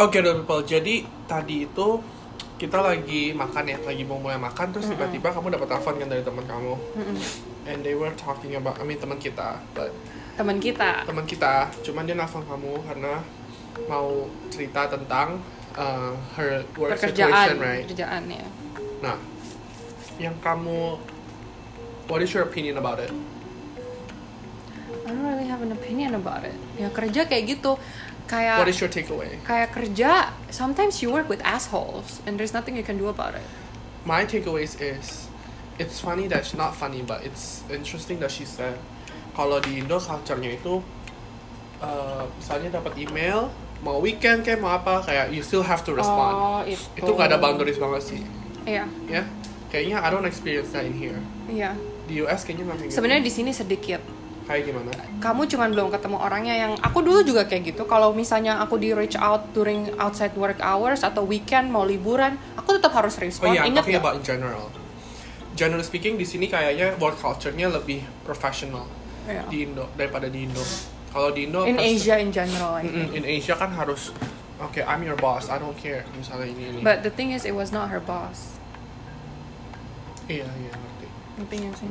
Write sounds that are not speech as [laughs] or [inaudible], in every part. Oke, okay, people. Jadi tadi itu kita lagi makan ya, lagi mau mulai makan terus tiba-tiba kamu dapat telepon kan dari teman kamu. And they were talking about, I mean teman kita, but teman kita teman kita, cuman dia nelfon kamu karena mau cerita tentang uh, her work pekerjaan situation, right? pekerjaan ya Nah, yang kamu, what is your opinion about it? I don't really have an opinion about it ya kerja kayak gitu kayak What is your takeaway? kayak kerja sometimes you work with assholes and there's nothing you can do about it my takeaways is it's funny that she's not funny but it's interesting that she said kalau di Indo culture-nya itu uh, misalnya dapat email mau weekend kayak mau apa kayak you still have to respond oh itu itu gak ada boundaries banget sih iya ya kayaknya I don't experience that in here iya di US kayaknya memang kayak gitu. sebenarnya di sini sedikit kayak gimana kamu cuman belum ketemu orangnya yang aku dulu juga kayak gitu kalau misalnya aku di reach out during outside work hours atau weekend mau liburan aku tetap harus oh respon iya I'm Ingat talking nggak? about in general generally speaking di sini kayaknya work culture-nya lebih professional Iya. di Indo daripada di Indo kalau di Indo kan in pers- Asia in general I think. Mm-mm, in Asia kan harus oke I'm your boss I don't care misalnya ini ini but the thing is it was not her boss iya iya ngerti intinya sih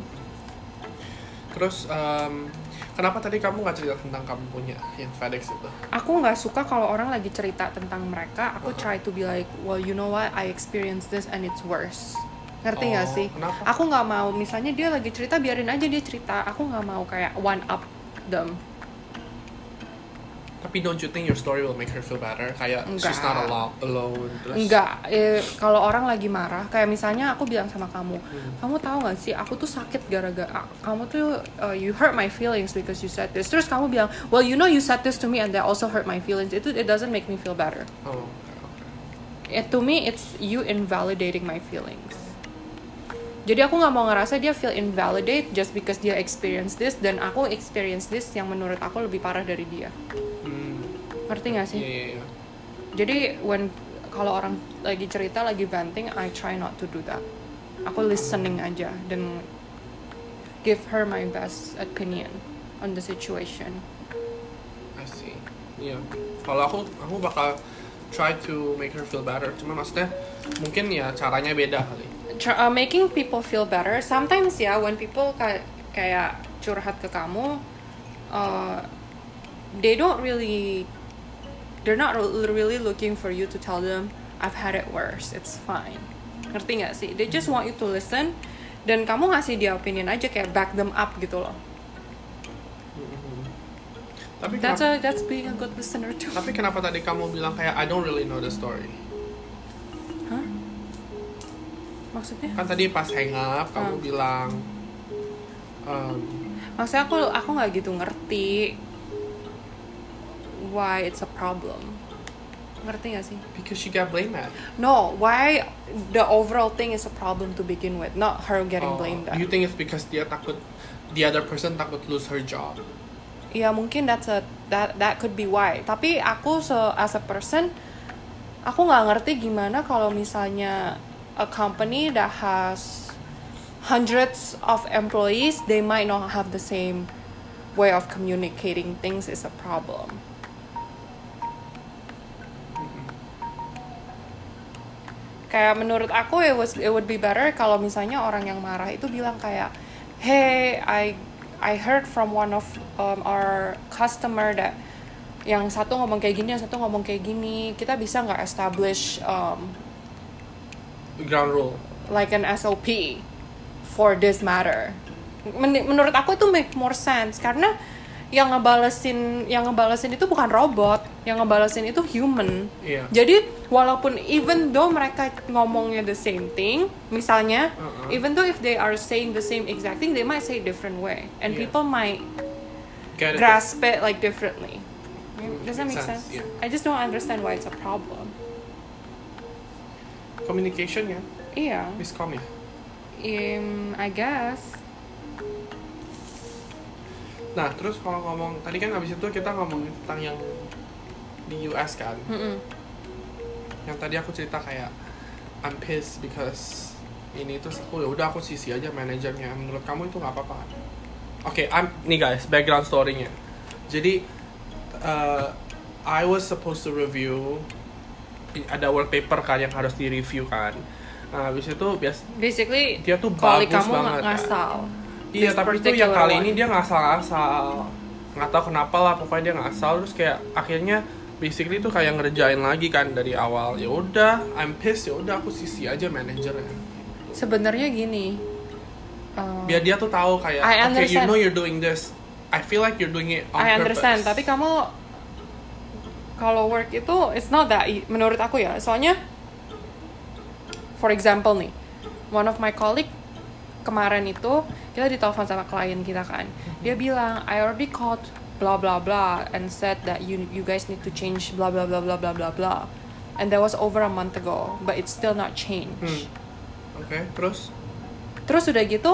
terus em, kenapa tadi kamu nggak cerita tentang kamu punya yang FedEx itu aku nggak suka kalau orang lagi cerita tentang Oh. mereka aku try to be like well you know what I experienced this and it's worse ngerti nggak Oh, sih kenapa? aku nggak mau misalnya dia lagi cerita biarin aja dia cerita aku nggak mau kayak one up them tapi don't you think your story will make her feel better kayak she's not Enggak. alo- alone terus Enggak, eh, kalau orang lagi marah, kayak misalnya aku bilang sama kamu, Hmm, kamu tahu nggak sih, aku tuh sakit gara-gara kamu tuh uh, you hurt my feelings because you said this. Terus kamu bilang, well you know you said this to me and that also hurt my feelings. Itu it doesn't make me feel better. oh oke, oke. It, Eh, to me it's you invalidating my feelings. Jadi aku nggak mau ngerasa dia feel invalidate just because dia experience this dan aku experience this yang menurut aku lebih parah dari dia. Hmm, Ngerti nggak sih? iya iya iya. jadi when kalau orang lagi cerita lagi banting I try not to do that aku listening aja dan give her my best opinion on the situation I see iya kalau aku aku bakal try to make her feel better cuman maksudnya mungkin ya caranya beda kali Tr- uh, making people feel better sometimes ya when people ka- kayak curhat ke kamu uh, they don't really they're not re- really looking for you to tell them I've had it worse it's fine ngerti nggak sih they just want you to listen dan kamu ngasih dia opinion aja kayak back them up gitu loh tapi that's kenapa- a, that's being a good listener too Tapi kenapa tadi kamu bilang kayak I don't really know the story? Hah? maksudnya Kan tadi pas hang up kamu Hmm. bilang um, maksudnya aku aku nggak gitu ngerti why it's a problem ngerti nggak sih because she got blamed at. no why the overall thing is a problem to begin with not her Oh, getting blamed at. You think it's because dia takut the other person takut lose her job. ya mungkin that's a that that could be why tapi aku se as a person aku nggak ngerti gimana kalau misalnya a company that has hundreds of employees they might not have the same way of communicating things is a problem kayak menurut aku it was it would be better kalau misalnya orang yang marah itu bilang kayak hey I I heard from one of um, our customer that yang satu ngomong kayak gini yang satu ngomong kayak gini kita bisa nggak establish um, Ground rule. like an SOP for this matter. Men- menurut aku itu make more sense karena yang ngebalesin yang ngebalesin itu bukan robot, yang ngebalesin itu human. Iya. Jadi walaupun even though mereka ngomongnya the same thing, misalnya Uh-uh. even though if they are saying the same exact thing, they might say it different way and Iya. people might Get it? Mm, grasp it like differently. Does that make makes sense? sense, yeah. I just don't understand why it's a problem. Communication ya, Iya. miscom ya. Em, Um, I guess. Nah terus kalau ngomong tadi kan abis itu kita ngomongin tentang yang di US kan. Mm-mm. Yang tadi aku cerita kayak I'm pissed because ini terus aku ya udah aku sisi aja manajernya. Menurut kamu itu nggak apa-apa? kan? Oke, I'm nih guys background story-nya. Jadi uh, I was supposed to review ada work paper kan yang harus di review kan nah habis itu bias Basically, Dia tuh kali bagus kamu banget, ng- ngasal. Iya This tapi itu yang particular kali one. ini dia ngasal-ngasal nggak tahu kenapa lah pokoknya dia ngasal terus kayak akhirnya basically tuh kayak ngerjain lagi kan dari awal ya udah I'm pissed ya udah aku sisi aja manajernya Sebenarnya gini. uh, biar dia tuh tahu kayak okay I you understand. know you're doing this I feel like you're doing it on I purpose." understand, tapi kamu kalau work itu it's not that e- menurut aku ya. Soalnya for example nih, one of my colleague kemarin itu kita ditelepon sama klien kita kan. Dia bilang, "I already called blah blah blah and said that you you guys need to change blah blah blah blah blah blah blah." And that was over a month ago, but it's still not changed. Hmm. oke terus Terus udah gitu,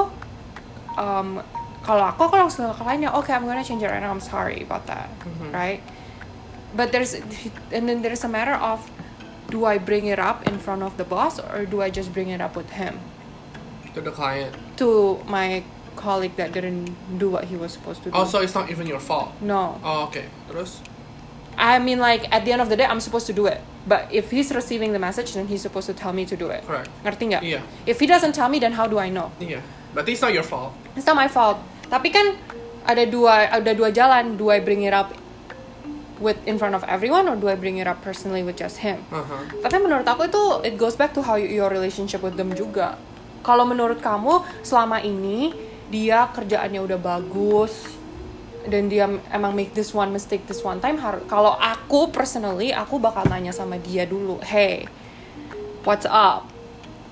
um, kalau aku aku langsung ke kliennya, oke I'm gonna change it right now, I'm sorry about that, Hmm. right? But there's and then there's a matter of do I bring it up in front of the boss or do I just bring it up with him to the client to my colleague that didn't do what he was supposed to do? also Oh, it's not even your fault no, oh, oke terus I mean like at the end of the day I'm supposed to do it. But if he's receiving the message, then he's supposed to tell me to do it. Correct. Ngerti nggak? Iya. If he doesn't tell me, then how do I know? iya berarti it's not your fault It's not my fault. Tapi kan ada dua ada dua jalan. Do I bring it up with in front of everyone or do I bring it up personally with just him? Aha. Tapi menurut aku itu it goes back to how you- your relationship with them juga. Kalau menurut kamu selama ini dia kerjaannya udah bagus dan dia emang make this one mistake this one time har- kalau aku personally aku bakal nanya sama dia dulu, "Hey, what's up?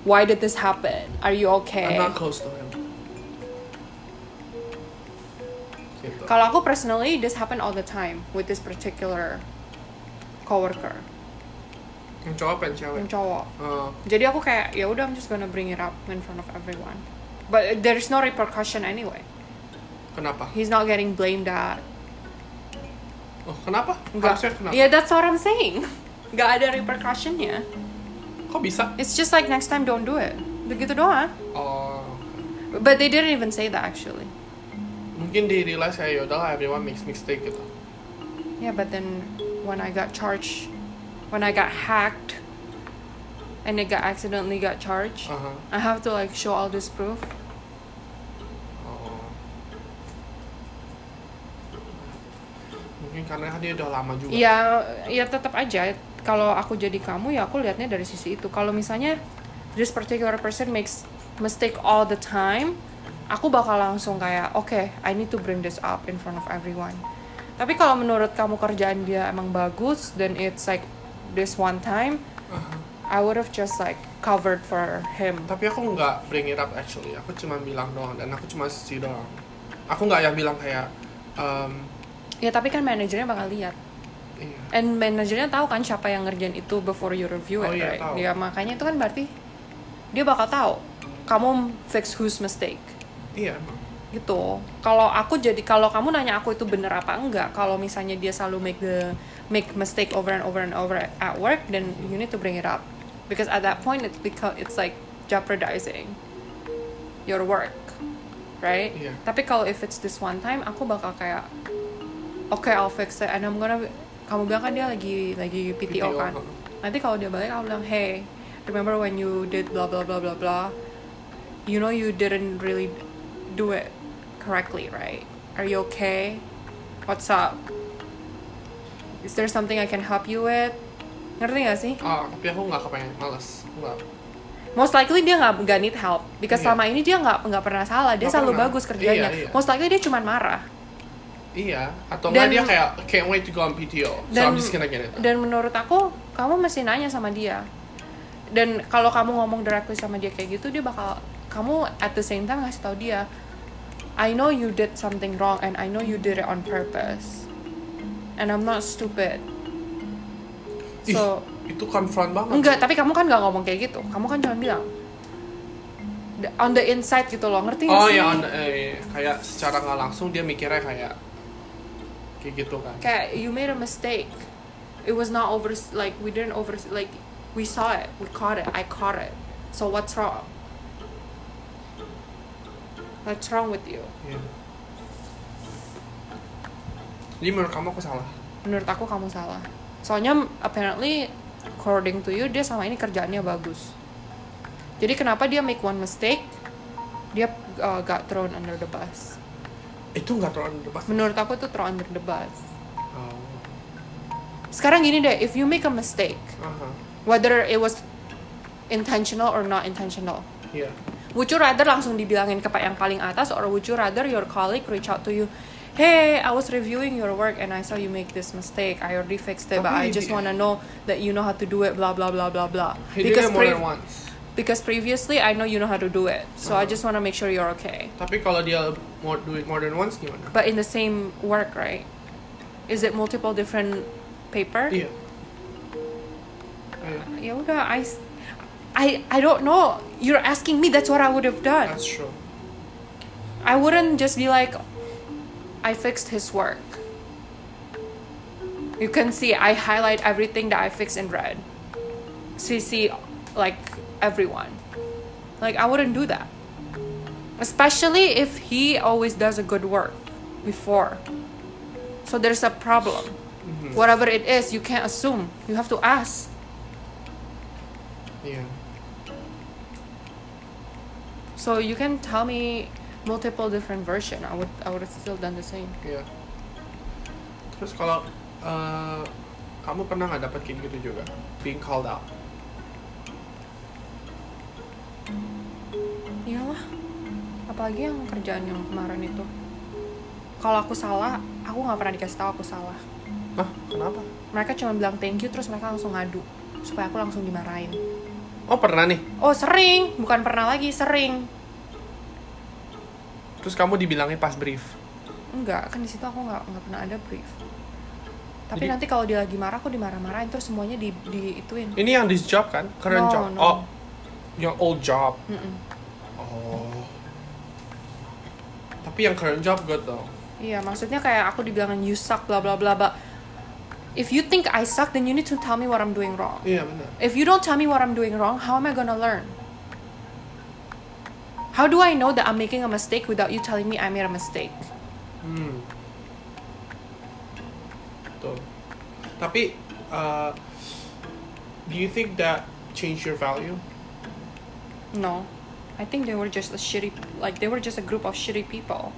Why did this happen? Are you okay?" I'm not close to him gitu Kalau aku personally, this happen all the time with this particular coworker yang cowok apa yang cewek yang cowok. Oh, Jadi aku kayak ya udah I'm just gonna bring it up in front of everyone. But there's no repercussion anyway. kenapa He's not getting blamed at. oh kenapa Nggak- harusnya kenapa Yeah, that's what I'm saying. [laughs] Gak ada repercussionnya. kok bisa It's just like next time don't do it. Begitu doang. oh But they didn't even say that actually. mungkin di realize kayak yaudah lah everyone makes mistake gitu Yeah, but then when I got charged, when I got hacked, and it got accidentally got charged, Aha. I have to like show all this proof. oh. mungkin karena dia udah lama juga Iya, ya tetap aja. Kalau aku jadi kamu, ya aku lihatnya dari sisi itu. Kalau misalnya this particular person makes mistake all the time, aku bakal langsung kayak, oke, I need to bring this up in front of everyone. Tapi kalau menurut kamu kerjaan dia emang bagus dan it's like this one time, Aha. I would have just like covered for him. tapi aku nggak bring it up actually aku cuma bilang doang dan aku cuma sisi doang aku nggak yang bilang kayak ehm, Ya tapi kan manajernya bakal lihat. iya And manajernya tahu kan siapa yang ngerjain itu before you review it, Oh, iya, right? tahu. Dia makanya itu kan berarti dia bakal tahu kamu fix whose mistake iya emang gitu. Kalau aku jadi kalau kamu nanya aku itu bener apa enggak, kalau misalnya dia selalu make the make mistake over and over and over at work, then you need to bring it up because at that point it become it's like jeopardizing your work, right? Iya. Tapi kalau if it's this one time, aku bakal kayak oke I'll fix it and I'm gonna kamu bilang kan dia lagi lagi PTO, PTO, kan heeh. nanti kalau dia balik aku bilang hey remember when you did blah blah blah blah blah you know you didn't really do it correctly right are you okay what's up is there something I can help you with ngerti gak sih ah tapi aku nggak kepengen males Aku nggak most likely dia nggak nggak need help because Iya. selama ini dia nggak nggak pernah salah dia Nggak selalu pernah. bagus kerjanya Iya, iya. most likely dia cuman marah iya atau nggak Dan- dia kayak can't wait to go on PTO so Dan- I'm just gonna get it dan menurut aku kamu mesti nanya sama dia dan kalau kamu ngomong directly sama dia kayak gitu dia bakal kamu at the same time ngasih tahu dia I know you did something wrong and I know you did it on purpose and I'm not stupid Ih, so itu confront banget enggak tapi kamu kan nggak ngomong kayak gitu kamu kan cuma bilang "The- on the inside gitu loh ngerti nggak oh sih ya on- eh, kayak secara nggak langsung dia mikirnya kayak kayak gitu kan kayak you made a mistake it was not over like we didn't over like we saw it we caught it i caught it so what's wrong what's wrong with you Iya. Jadi menurut kamu aku salah? menurut aku kamu salah soalnya apparently according to you dia sama ini kerjaannya bagus jadi kenapa dia make one mistake dia uh, got thrown under the bus itu nggak terlalu debat menurut aku tuh thrown under the bus oh. sekarang gini deh if you make a mistake aha whether it was intentional or not intentional iya would you rather langsung dibilangin ke yang paling atas or would you rather your colleague reach out to you hey I was reviewing your work and I saw you make this mistake I already fixed it but I Tapi just dia- wanna know that you know how to do it blah blah blah blah blah he did it more pre- than once because previously I know you know how to do it so I Uh-huh. just wanna make sure you're okay tapi kalau dia mau do it more than once gimana but in the same work right is it multiple different paper iya iya ya udah I s- I I don't know you're asking me that's what I would have done that's true I wouldn't just be like, I fixed his work. You can see I highlight everything that I fixed in red. CC like everyone. Like I wouldn't do that. Especially if he always does a good work before. So there's a problem. Whatever it is, you can't assume. You have to ask. iya So you can tell me multiple different version. I would I would have still done the same. iya terus kalau eh, kamu pernah nggak dapat kayak gitu juga being called out Iyalah. Apalagi yang kerjaan yang kemarin itu. Kalau aku salah, aku nggak pernah dikasih tahu aku salah. Hah? kenapa Mereka cuma bilang thank you terus mereka langsung ngadu supaya aku langsung dimarahin. oh pernah nih Oh sering, bukan pernah lagi sering. terus kamu dibilangnya pas brief Enggak, kan di situ aku nggak nggak pernah ada brief. Tapi Jadi- nanti kalau dia lagi marah, aku dimarah-marahin terus semuanya di diituin. ini yang this job kan current No, job no. oh your old job Mm-mm. oh tapi yang current job good though Iya, maksudnya kayak aku dibilangin you suck bla bla bla bla. If you think I suck, then you need to tell me what I'm doing wrong. iya benar If you don't tell me what I'm doing wrong, how am I gonna learn? How do I know that I'm making a mistake without you telling me I made a mistake? Hmm. Betul. Tapi, uh, do you think that change your value? No. I think they were just a shitty, like they were just a group of shitty people.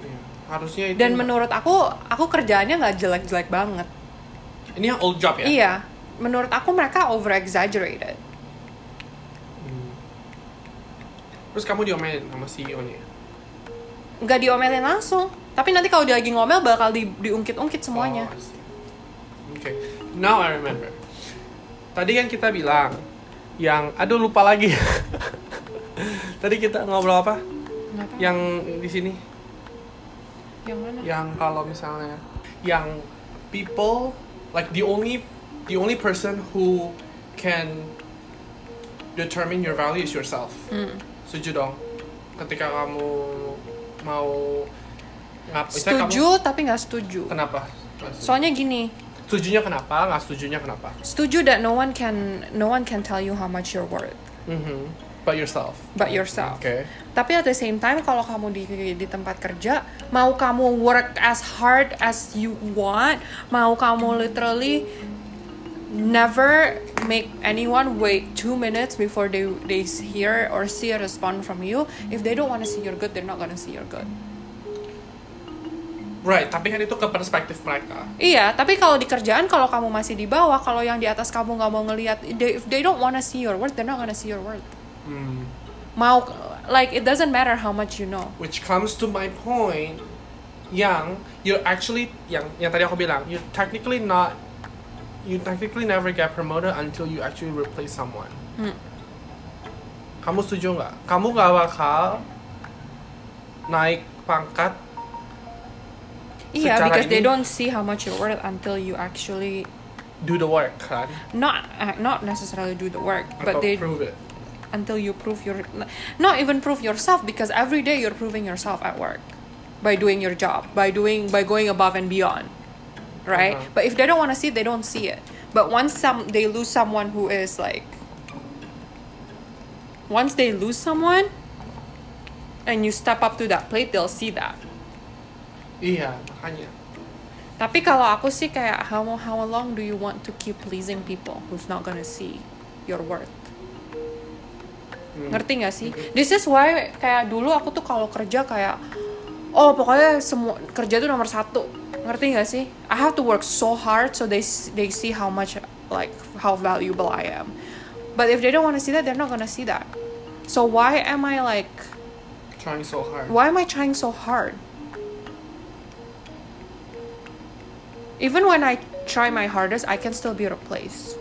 Iya. Harusnya itu. Dan menurut aku, aku kerjaannya nggak jelek-jelek banget. ini yang old job ya? Iya, menurut aku mereka over exaggerated. Hmm. Terus kamu diomelin sama E CEO nya? Nggak diomelin langsung. Tapi nanti kalau dia lagi ngomel bakal di- diungkit-ungkit semuanya. Oh, I see. Oke. Now I remember. Tadi kan kita bilang yang aduh lupa lagi. [laughs] Tadi kita ngobrol apa? Nggak tahu. Yang di sini? yang mana? yang kalau misalnya yang people like the only the only person who can determine your value is yourself. Hmm. Setuju dong. Ketika kamu mau ngap, misalnya kamu- Setuju tapi nggak setuju. kenapa? Soalnya gini, Setujunya kenapa? Nggak setujunya kenapa? setuju that no one can no one can tell you how much you're worth Mhm. But yourself. but yourself. Oke. Tapi at the same time kalau kamu di di tempat kerja mau kamu work as hard as you want, mau kamu literally never make anyone wait two minutes before they they hear or see a response from you. If they don't want to see your good, they're not gonna see your good. Right, tapi kan itu ke perspektif mereka. Iya, tapi kalau di kerjaan kalau kamu masih di bawah, kalau yang di atas kamu nggak mau ngelihat, they, if they don't wanna see your worth, they're not gonna see your worth. Hmm. mau like it doesn't matter how much you know which comes to my point yang you're actually yang yang tadi aku bilang you technically not you technically never get promoted until you actually replace someone Hmm. kamu setuju nggak kamu nggak bakal naik pangkat iya Secara because they ini- don't see how much you're worth until you actually do the work kan not uh, not necessarily do the work Atau but they prove it until you prove your not even prove yourself because every day you're proving yourself at work by doing your job by doing by going above and beyond right Uh-huh. but if they don't want to see it, they don't see it but once some they lose someone who is like once they lose someone and you step up to that plate they'll see that iya makanya Tapi kalau aku sih kayak how how long do you want to keep pleasing people who's not gonna see your worth? Ngerti nggak sih? This is why kayak dulu aku tuh kalau kerja kayak oh pokoknya semua kerja tuh nomor satu. Ngerti nggak sih? I have to work so hard so they s- they see how much like how valuable I am. But if they don't want to see that, they're not gonna see that. So why am I like Trying so hard. why am I trying so hard? Even when I try my hardest, I can still be replaced.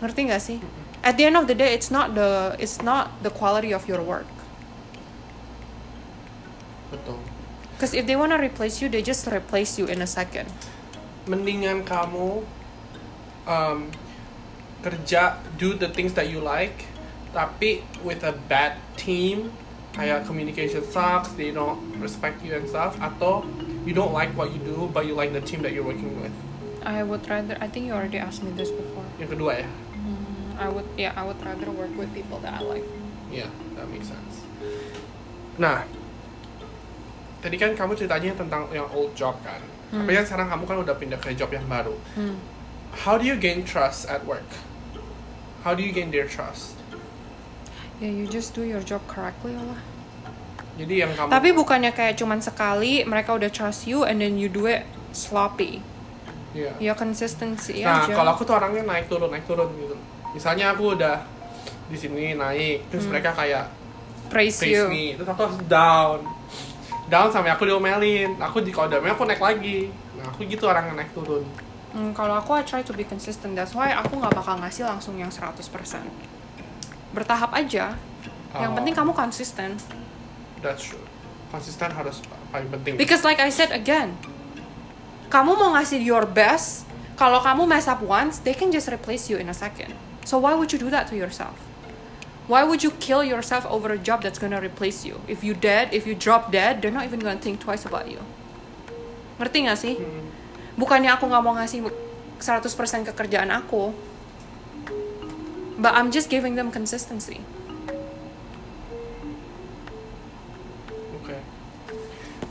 Ngerti nggak sih? At the end of the day, it's not the it's not the quality of your work. Betul. Because if they wanna replace you, they just replace you in a second. Mendingan kamu um, kerja do the things that you like, tapi with a bad team kayak communication sucks, they don't respect you and stuff, atau you don't like what you do but you like the team that you're working with. I would rather. I think you already asked me this before. Yang kedua ya. I would. Yeah, I would rather work with people that I like. Yeah, that makes sense. Nah, tadi kan kamu ceritanya tentang yang old job kan. Tapi kan sekarang kamu kan udah pindah ke job yang baru. How do you gain trust at work? How do you gain their trust? Yeah, you just do your job correctly lah. Jadi yang kamu Tapi bukannya kayak cuman sekali mereka udah trust you and then you do it sloppy. Iya. Ya consistency Nah, aja. kalau aku tuh orangnya naik turun naik turun gitu. Misalnya aku udah di sini naik, terus mereka kayak praise, face Hmm. you. me, terus aku harus down. Down sampai aku diomelin. Aku di kalau diomelin aku naik lagi. Nah, aku gitu orangnya naik turun. Hmm, kalau aku I try to be consistent. That's why aku nggak bakal ngasih langsung yang 100%. Bertahap aja. Yang Oh. penting kamu konsisten. That's true. Konsisten harus pa- paling penting. Because like I said again, kamu mau ngasih your best, kalau kamu mess up once, they can just replace you in a second. So why would you do that to yourself? Why would you kill yourself over a job that's gonna replace you? If you dead, if you drop dead, they're not even gonna think twice about you. Ngerti gak sih? Bukannya aku nggak mau ngasih 100% ke kerjaan aku, but I'm just giving them consistency. Oke.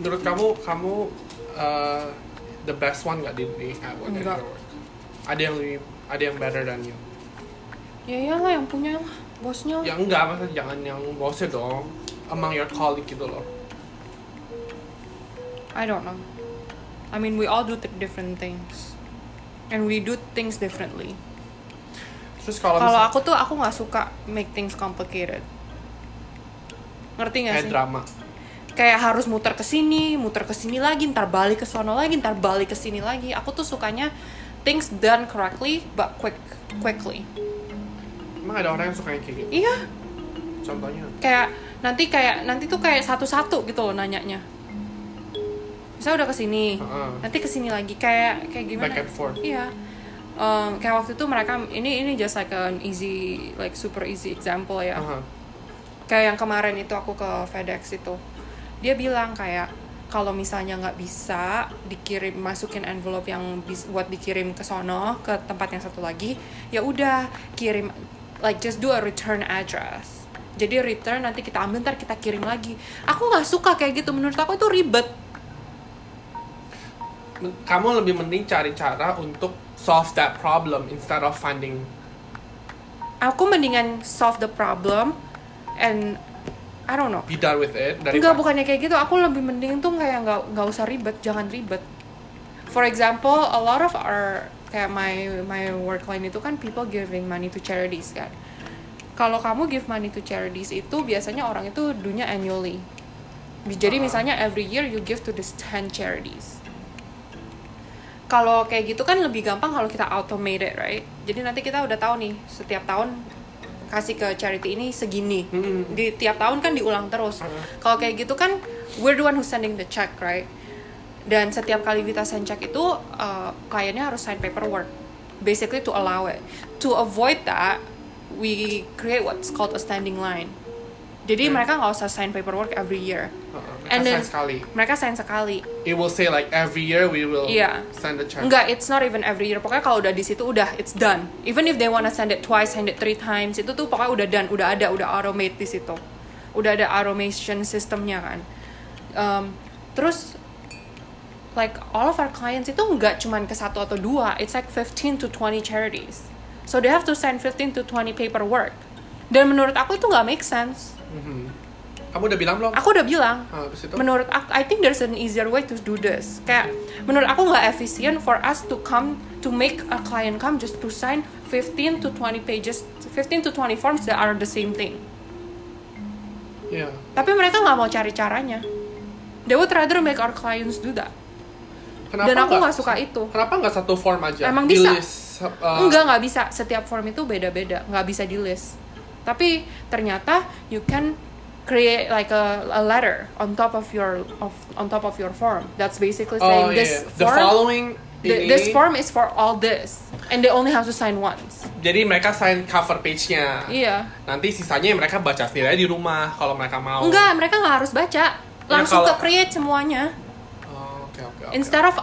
Menurut kamu, kamu uh, the best one nggak di, di at work? at Nggak. your work? Ada yang lebih, ada yang better than you? Ya iyalah yang punya lah, bosnya lah. Ya enggak, maksudnya jangan yang bosnya dong. Among your colleague gitu loh. I don't know. I mean, we all do th- different things, and we do things differently. Terus kalau Kalau misal- aku tuh aku nggak suka make things complicated. Ngerti nggak kayak ya sih? drama, Kayak harus muter ke sini, muter ke sini lagi, ntar balik ke sono lagi, ntar balik ke sini lagi. Aku tuh sukanya things done correctly but quick, quickly. emang ada orang yang suka yang kayak gitu? Iya, Contohnya? kayak nanti kayak nanti tuh kayak satu-satu gitu loh nanyanya. Saya udah ke sini, Heeh. nanti kesini lagi kayak kayak gimana? Back and forth. Iya. Um, kayak waktu itu mereka ini ini just like an easy like super easy example ya. Aha. Kayak yang kemarin itu aku ke FedEx itu. Dia bilang kayak kalau misalnya nggak bisa dikirim masukin envelope yang bis- buat dikirim ke sono ke tempat yang satu lagi, ya udah kirim like just do a return address. Jadi return nanti kita ambil ntar kita kirim lagi. Aku nggak suka kayak gitu menurut aku itu ribet. Men- Kamu lebih mending cari cara untuk solve that problem instead of finding aku mendingan solve the problem and I don't know. be done with it dari Enggak bukannya kayak gitu, aku lebih mending tuh kayak nggak nggak usah ribet, jangan ribet. For example, a lot of our kayak my my work line itu kan people giving money to charities kan. Kalau kamu give money to charities itu biasanya orang itu dunia annually. Jadi misalnya every year you give to this 10 charities. Kalau kayak gitu kan lebih gampang kalau kita automate it, right? Jadi nanti kita udah tahu nih setiap tahun kasih ke charity ini segini. Di tiap tahun kan diulang terus. Kalau kayak gitu kan we're the one who sending the check, right? Dan setiap kali kita send check itu uh, kliennya harus sign paperwork basically to allow it. To avoid that, we create what's called a standing line. Jadi mereka nggak usah sign paperwork every year. Heeh, mereka And then- sayang sekali. Mereka sign sekali. It will say like every year we will Iya. send a check. Enggak, it's not even every year. Pokoknya kalau udah di situ udah it's done. Even if they wanna send it twice, send it three times, itu tuh pokoknya udah done, udah ada, udah automate di situ. Udah ada automation sistemnya kan. Um, terus like all of our clients itu nggak cuman ke satu atau dua it's like 15 to 20 charities so they have to send 15 to 20 paperwork dan menurut aku itu nggak make sense Mhm. Kamu udah bilang belum? aku udah bilang Ah, habis itu? Gitu. menurut aku I think there's an easier way to do this kayak menurut aku nggak efisien for us to come to make a client come just to sign 15 to 20 pages 15 to 20 forms that are the same thing Iya. tapi mereka nggak mau cari caranya they would rather make our clients do that Kenapa dan aku nggak- nggak suka itu Kenapa nggak satu form aja? Emang bisa? Di list, uh, enggak nggak bisa setiap form itu beda-beda nggak bisa di list tapi ternyata you can create like a, a letter on top of your of on top of your form that's basically saying Oh iya. this The form following Th- ini. this form is for all this, and they only have to sign once. Jadi mereka sign cover page-nya. Iya. Nanti sisanya mereka baca sendiri aja di rumah kalau mereka mau. Enggak, mereka nggak harus baca. Oh. Langsung Ya, kalau- ke create semuanya. Oh, Oke oke. oke. Instead of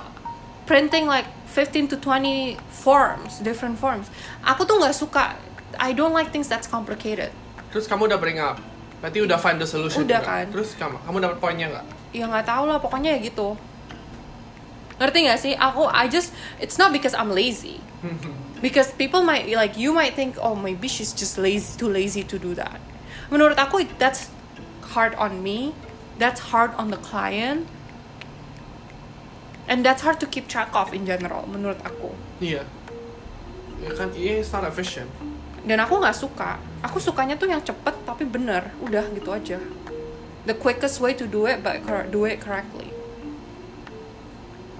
printing like 15 to 20 forms, different forms. Aku tuh nggak suka. I don't like things that's complicated. Terus kamu udah bring up. Berarti udah find the solution. Udah juga. kan. Terus kamu kamu dapat poinnya nggak? Ya nggak tahu lah, pokoknya ya gitu. Ngerti nggak sih? Aku I just it's not because [laughs] I'm lazy. Because people might like you might think oh maybe she's just lazy too lazy to do that. Menurut aku it- that's hard on me, that's hard on the client, and that's hard to keep track of in general menurut aku. Iya. Ya kan, iya it's not efficient. Dan aku nggak suka. Aku sukanya tuh yang cepet tapi bener. Udah gitu aja. The quickest way to do it but cor- do it correctly.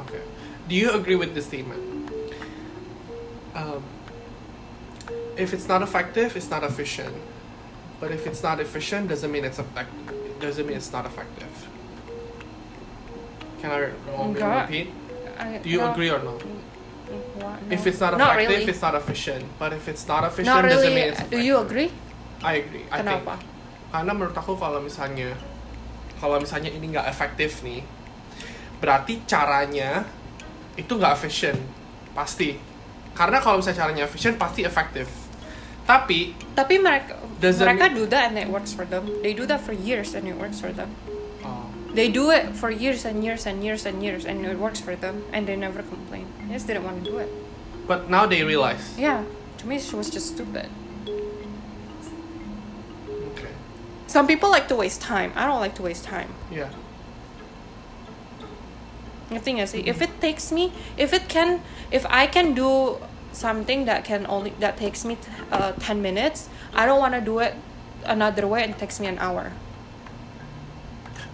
Okay. Do you agree with this statement? Um, if it's not effective, it's not efficient. But if it's not efficient, doesn't mean it's effective. Doesn't mean it's not effective. Can I want me to Enggak. repeat? I- Do you no. agree or no? What? No. If it's not Not effective, really. it's not efficient. But if it's not efficient, Not doesn't mean really. it's Do effective. you agree? I agree. I think. Kenapa? karena menurut aku kalau misalnya kalau misalnya ini nggak efektif nih berarti caranya itu nggak efisien pasti karena kalau misalnya caranya efisien pasti efektif tapi Tapi mereka Doesn't- mereka do that and it works for them. They do that for years and it works for them. oh, They do it for years and years and years and years and it works for them and they never complain. They just didn't want to do it. but now they realize Yeah, to me she was just stupid. okay Some people like to waste time. I don't like to waste time. yeah Ngerti nggak sih? If it takes me, if it can, if I can do something that can only that takes me uh, 10 minutes, I don't want to do it another way and takes me an hour.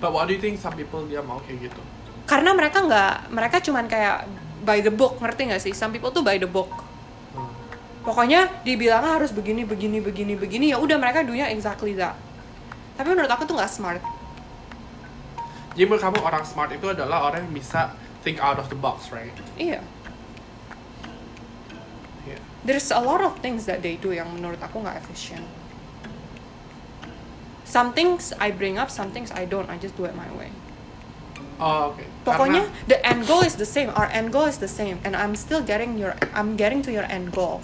but what do you think some people dia mau kayak gitu Karena mereka nggak, mereka cuman kayak by the book, ngerti nggak sih? Some people tuh by the book. Hmm. Pokoknya dibilang harus begini, begini, begini, begini. Ya udah mereka dunia exactly that. Tapi menurut aku tuh nggak smart. jadi menurut kamu orang smart itu adalah orang yang bisa think out of the box right Iya. yeah there's a lot of things that they do yang menurut aku nggak efisien. Some things I bring up, some things I don't. I just do it my way. oh, oke Pokoknya Karena- the end goal is the same. Our end goal is the same, and I'm still getting your, I'm getting to your end goal.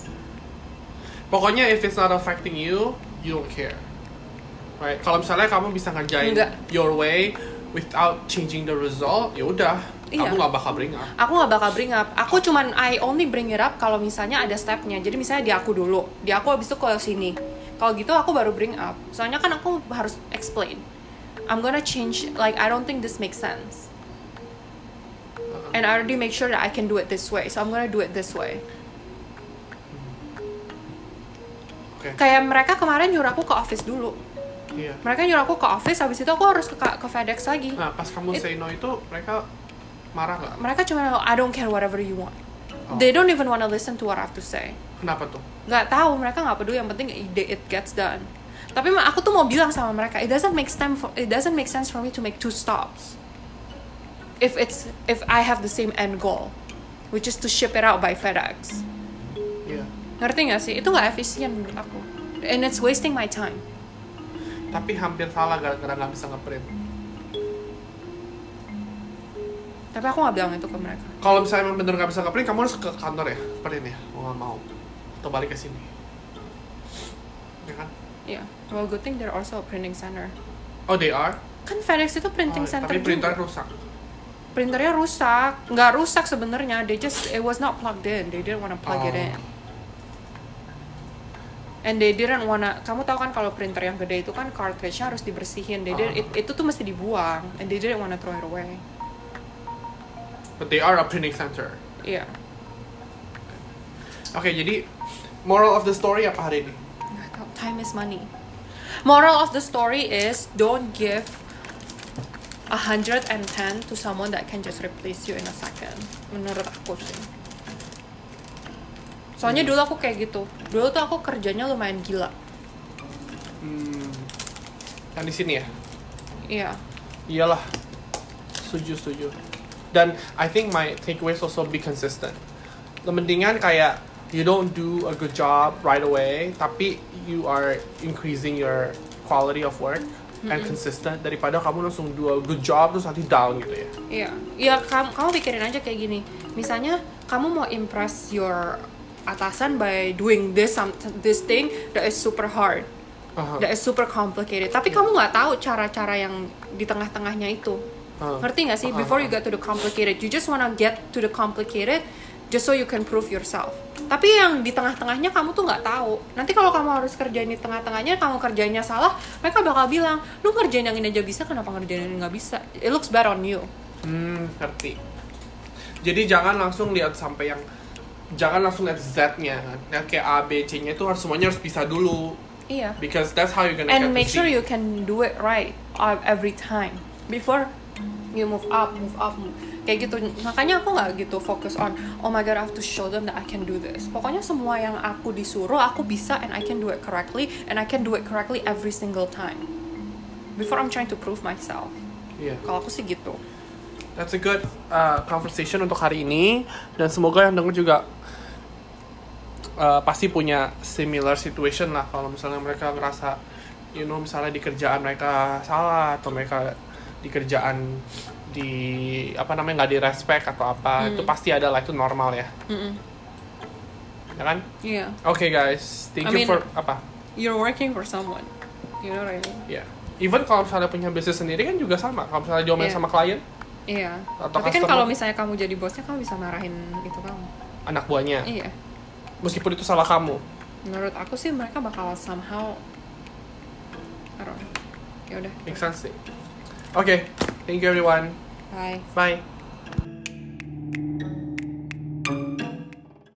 pokoknya if it's not affecting you you don't care right kalau misalnya kamu bisa ngerjain Enggak. your way without changing the result ya udah Iya. kamu nggak bakal bring up Aku nggak bakal bring up. Aku cuman I only bring it up kalau misalnya ada stepnya. Jadi misalnya di aku dulu, di aku abis itu ke sini. Kalau gitu aku baru bring up. Soalnya kan aku harus explain. I'm gonna change. Like I don't think this makes sense. And I already make sure that I can do it this way. So I'm gonna do it this way. oke Kayak mereka kemarin nyuruh aku ke office dulu. iya Mereka nyuruh aku ke office. Abis itu aku harus ke ke FedEx lagi. nah pas kamu It- say no itu mereka marah nggak Mereka cuma I don't care whatever you want. Oh. They don't even wanna listen to what I have to say. kenapa tuh nggak tahu mereka nggak peduli yang penting ide it gets done tapi ma- aku tuh mau bilang sama mereka it doesn't make sense for it doesn't make sense for me to make two stops if it's if I have the same end goal which is to ship it out by FedEx iya ngerti nggak sih itu nggak efisien menurut aku and it's wasting my time tapi hampir salah gara-gara nggak bisa ngeprint tapi aku nggak bilang itu ke mereka kalau misalnya memang bener nggak bisa ngeprint kamu harus ke kantor ya print ya mau nggak mau atau balik ke sini ya kan yeah Iya. well good thing they're also a printing center oh they are kan FedEx itu printing Oh, center tapi printer juga. rusak printernya rusak nggak rusak sebenarnya they just it was not plugged in they didn't wanna plug it Oh. in and they didn't wanna kamu tahu kan kalau printer yang gede itu kan cartridge harus dibersihin they didn't- it- itu tuh mesti dibuang and they didn't wanna throw it away But they are a printing center. iya Oke, jadi moral of the story apa hari ini? Nggak tahu, time is money moral of the story is don't give 110 to someone that can just replace you in a second menurut aku sih soalnya dulu aku kayak gitu dulu tuh aku kerjanya lumayan gila Hmm, yang di sini ya? iya Iyalah. Setuju, setuju. Dan I think my takeaways also be consistent. Mendingan kayak you don't do a good job right away, tapi you are increasing your quality of work and consistent daripada kamu langsung do a good job terus nanti down gitu ya. Iya, ya kamu, kamu pikirin aja kayak gini. Misalnya kamu mau impress your atasan by doing this some, this thing that is super hard, Aha. that is super complicated. Tapi kamu nggak tahu cara-cara yang di tengah-tengahnya itu. Ah. Ngerti nggak sih? Ah, ah, Before you get to the complicated, you just wanna get to the complicated just so you can prove yourself. Tapi yang di tengah-tengahnya kamu tuh nggak tahu. Nanti kalau kamu harus kerjain di tengah-tengahnya, kamu kerjanya salah, mereka bakal bilang, lu ngerjain yang ini aja bisa, kenapa ngerjain yang ini nggak bisa? It looks bad on you. Hmm, ngerti. Jadi jangan langsung lihat sampai yang jangan langsung lihat Z-nya kan. Lihat kayak A, B, C-nya itu harus semuanya harus bisa dulu Iya. because that's how you're gonna get and to make sure see. you can do it right uh, every time before you move up move up move- kayak gitu makanya aku nggak gitu fokus on oh my god I have to show them that I can do this pokoknya semua yang aku disuruh aku bisa and I can do it correctly and I can do it correctly every single time before I'm trying to prove myself Yeah. kalau aku sih gitu That's a good uh, conversation untuk hari ini dan semoga yang denger juga uh, pasti punya similar situation lah kalau misalnya mereka ngerasa you know misalnya di kerjaan mereka salah atau mereka di kerjaan di apa namanya nggak di respect atau apa Hmm. itu pasti ada lah itu normal ya ya kan yeah oke guys thank I you mean- for apa Iya. you're working for someone you know what I mean ya even kalau misalnya punya bisnis sendiri kan juga sama kalau misalnya diomelin Yeah. sama klien iya Atau tapi kan customer. kalau misalnya kamu jadi bosnya kamu bisa marahin itu kamu anak buahnya iya meskipun itu salah kamu menurut aku sih mereka bakal somehow I don't know. ya udah Make sense. Okay. Thank you, everyone. bye Bye.